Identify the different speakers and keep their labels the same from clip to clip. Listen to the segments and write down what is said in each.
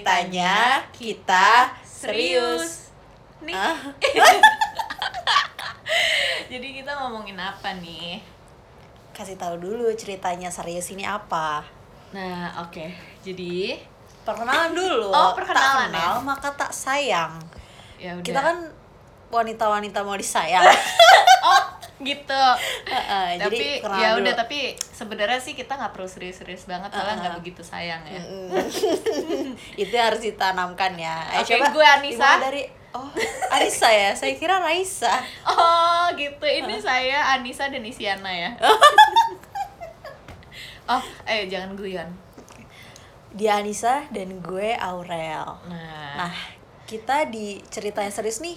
Speaker 1: ceritanya kita serius.
Speaker 2: serius nih
Speaker 1: Ah,
Speaker 2: jadi kita ngomongin apa nih
Speaker 1: kasih tahu dulu ceritanya serius ini apa.
Speaker 2: nah oke jadi
Speaker 1: Perkenalan dulu.
Speaker 2: Oh, perkenalan
Speaker 1: tak kenal,
Speaker 2: ya.
Speaker 1: maka tak sayang.
Speaker 2: ya udah
Speaker 1: Kita kan wanita-wanita mau disayang.
Speaker 2: oh gitu
Speaker 1: Heeh, jadi
Speaker 2: tapi
Speaker 1: perkenalan
Speaker 2: ya
Speaker 1: dulu.
Speaker 2: udah tapi sebenarnya sih kita nggak perlu serius-serius banget soalnya
Speaker 1: Uh-uh.
Speaker 2: nggak begitu sayang ya
Speaker 1: Mm. itu harus ditanamkan ya. Eh,
Speaker 2: Oke,
Speaker 1: coba
Speaker 2: gue Anissa.
Speaker 1: dimulai dari Oh, Anissa ya. Saya kira Raisa.
Speaker 2: oh gitu ini saya Anissa dan Isyana ya oh eh jangan guyon
Speaker 1: Dia Anissa dan gue Aurel.
Speaker 2: nah,
Speaker 1: Nah, kita di ceritanya serius nih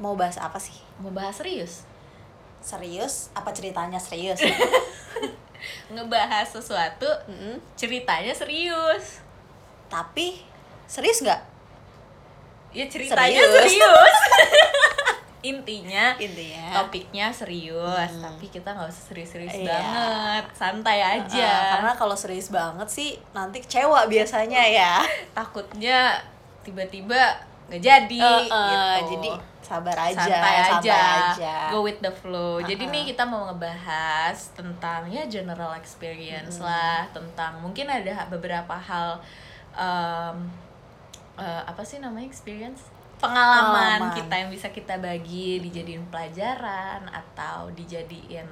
Speaker 1: mau bahas apa sih?
Speaker 2: mau bahas serius
Speaker 1: Serius? Apa ceritanya serius?
Speaker 2: ngebahas sesuatu
Speaker 1: Mm-mm.
Speaker 2: ceritanya serius
Speaker 1: Tapi serius nggak?
Speaker 2: ya ceritanya
Speaker 1: Serius.
Speaker 2: serius, intinya
Speaker 1: Intinya.
Speaker 2: topiknya serius
Speaker 1: Eh? Hmm.
Speaker 2: tapi kita nggak usah serius-serius
Speaker 1: Iya.
Speaker 2: banget santai aja
Speaker 1: Eh, karena kalau serius banget sih nanti kecewa biasanya ya.
Speaker 2: takutnya tiba-tiba nggak jadi
Speaker 1: Eh, eh,
Speaker 2: Iya, gitu.
Speaker 1: Jadi sabar aja,
Speaker 2: santai aja.
Speaker 1: aja.
Speaker 2: go with the flow jadi
Speaker 1: Uh-uh.
Speaker 2: nih kita mau ngebahas tentang ya general experience lah tentang mungkin ada beberapa hal em, eh, apa sih namanya experience
Speaker 1: Pengalaman.
Speaker 2: pengalaman kita yang bisa kita bagi dijadiin pelajaran atau dijadiin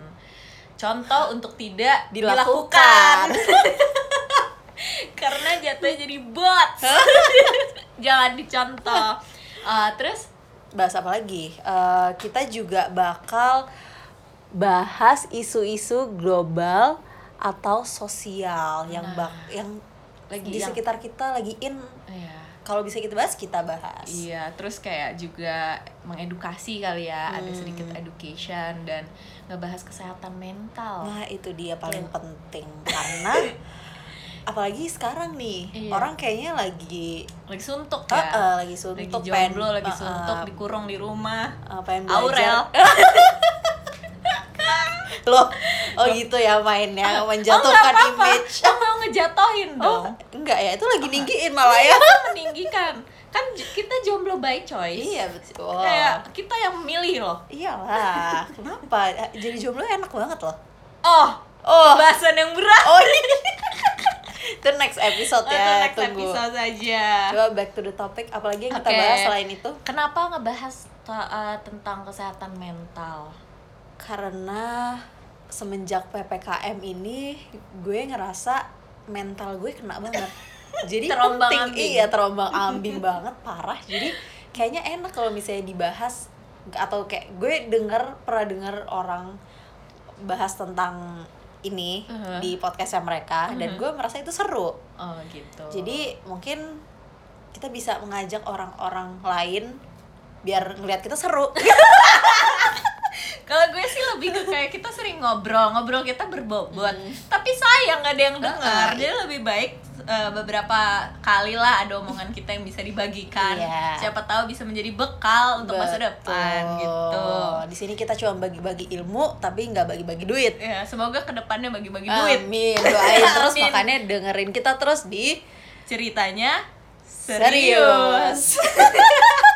Speaker 2: contoh untuk tidak
Speaker 1: Dilakukan.
Speaker 2: dilakukan. karena jatuhnya jadi bots jangan dicontoh Eh, terus
Speaker 1: bahas apa lagi? Eh, kita juga bakal bahas isu-isu global atau sosial yang
Speaker 2: Nah.
Speaker 1: bak yang
Speaker 2: Lagi
Speaker 1: di
Speaker 2: yang-
Speaker 1: sekitar kita lagi in.
Speaker 2: ya
Speaker 1: Kalau bisa kita bahas, kita bahas.
Speaker 2: iya terus kayak juga mengedukasi kali ya ada
Speaker 1: Hmm.
Speaker 2: sedikit education dan ngebahas kesehatan mental
Speaker 1: Nah, itu dia paling penting karena apalagi sekarang nih,
Speaker 2: Iya.
Speaker 1: orang kayaknya lagi
Speaker 2: lagi suntuk
Speaker 1: eh,
Speaker 2: ya
Speaker 1: eh, lagi
Speaker 2: lagi
Speaker 1: suntuk
Speaker 2: jomblo lagi
Speaker 1: eh, eh,
Speaker 2: suntuk dikurung di rumah
Speaker 1: eh, pengen belajar.
Speaker 2: Aurel
Speaker 1: Loh, oh gitu ya mainnya menjatuhkan
Speaker 2: oh, nggak apa-apa.
Speaker 1: image.
Speaker 2: Oh, mau ngejatohin
Speaker 1: Oh,
Speaker 2: dong
Speaker 1: enggak ya, itu lagi ninggiin malah ya.
Speaker 2: meninggikan kan j- kita jomblo by choice
Speaker 1: Iya betul.
Speaker 2: kayak kita yang milih loh
Speaker 1: Iyalah, kenapa? Jadi jomblo enak banget loh.
Speaker 2: oh
Speaker 1: Oh,
Speaker 2: bahasan yang berat
Speaker 1: oh ini. itu next episode
Speaker 2: Oh, itu
Speaker 1: ya,
Speaker 2: next
Speaker 1: tunggu.
Speaker 2: episode saja
Speaker 1: Coba back to the topic, apalagi yang kita
Speaker 2: Oke.
Speaker 1: bahas selain itu?
Speaker 2: kenapa ngebahas ta- eh, tentang kesehatan mental
Speaker 1: Karena semenjak PPKM ini gue ngerasa mental gue kena banget. Jadi
Speaker 2: Terombang
Speaker 1: penting,
Speaker 2: ambing.
Speaker 1: iya terombang ambing banget parah. Jadi kayaknya enak kalau misalnya dibahas atau kayak gue denger pernah denger orang bahas tentang ini
Speaker 2: Uh-huh.
Speaker 1: di podcastnya mereka dan
Speaker 2: Uh-huh.
Speaker 1: gue merasa itu seru.
Speaker 2: oh gitu
Speaker 1: Jadi mungkin kita bisa mengajak orang-orang lain biar ngelihat kita seru.
Speaker 2: kalau gue sih lebih ke kayak kita sering ngobrol ngobrol kita berbobot tapi sayang nggak ada yang dengar
Speaker 1: Hmm. Heeh.
Speaker 2: jadi lebih baik eh, beberapa kali lah ada omongan kita yang bisa dibagikan
Speaker 1: Iya.
Speaker 2: siapa tahu bisa menjadi bekal untuk masa depan
Speaker 1: Betul.
Speaker 2: gitu
Speaker 1: Di sini kita cuma bagi-bagi ilmu tapi nggak bagi-bagi duit.
Speaker 2: ya semoga kedepannya bagi-bagi duit
Speaker 1: Amin. Doain terus
Speaker 2: Amin.
Speaker 1: makanya dengerin kita terus di
Speaker 2: ceritanya serius,
Speaker 1: serius.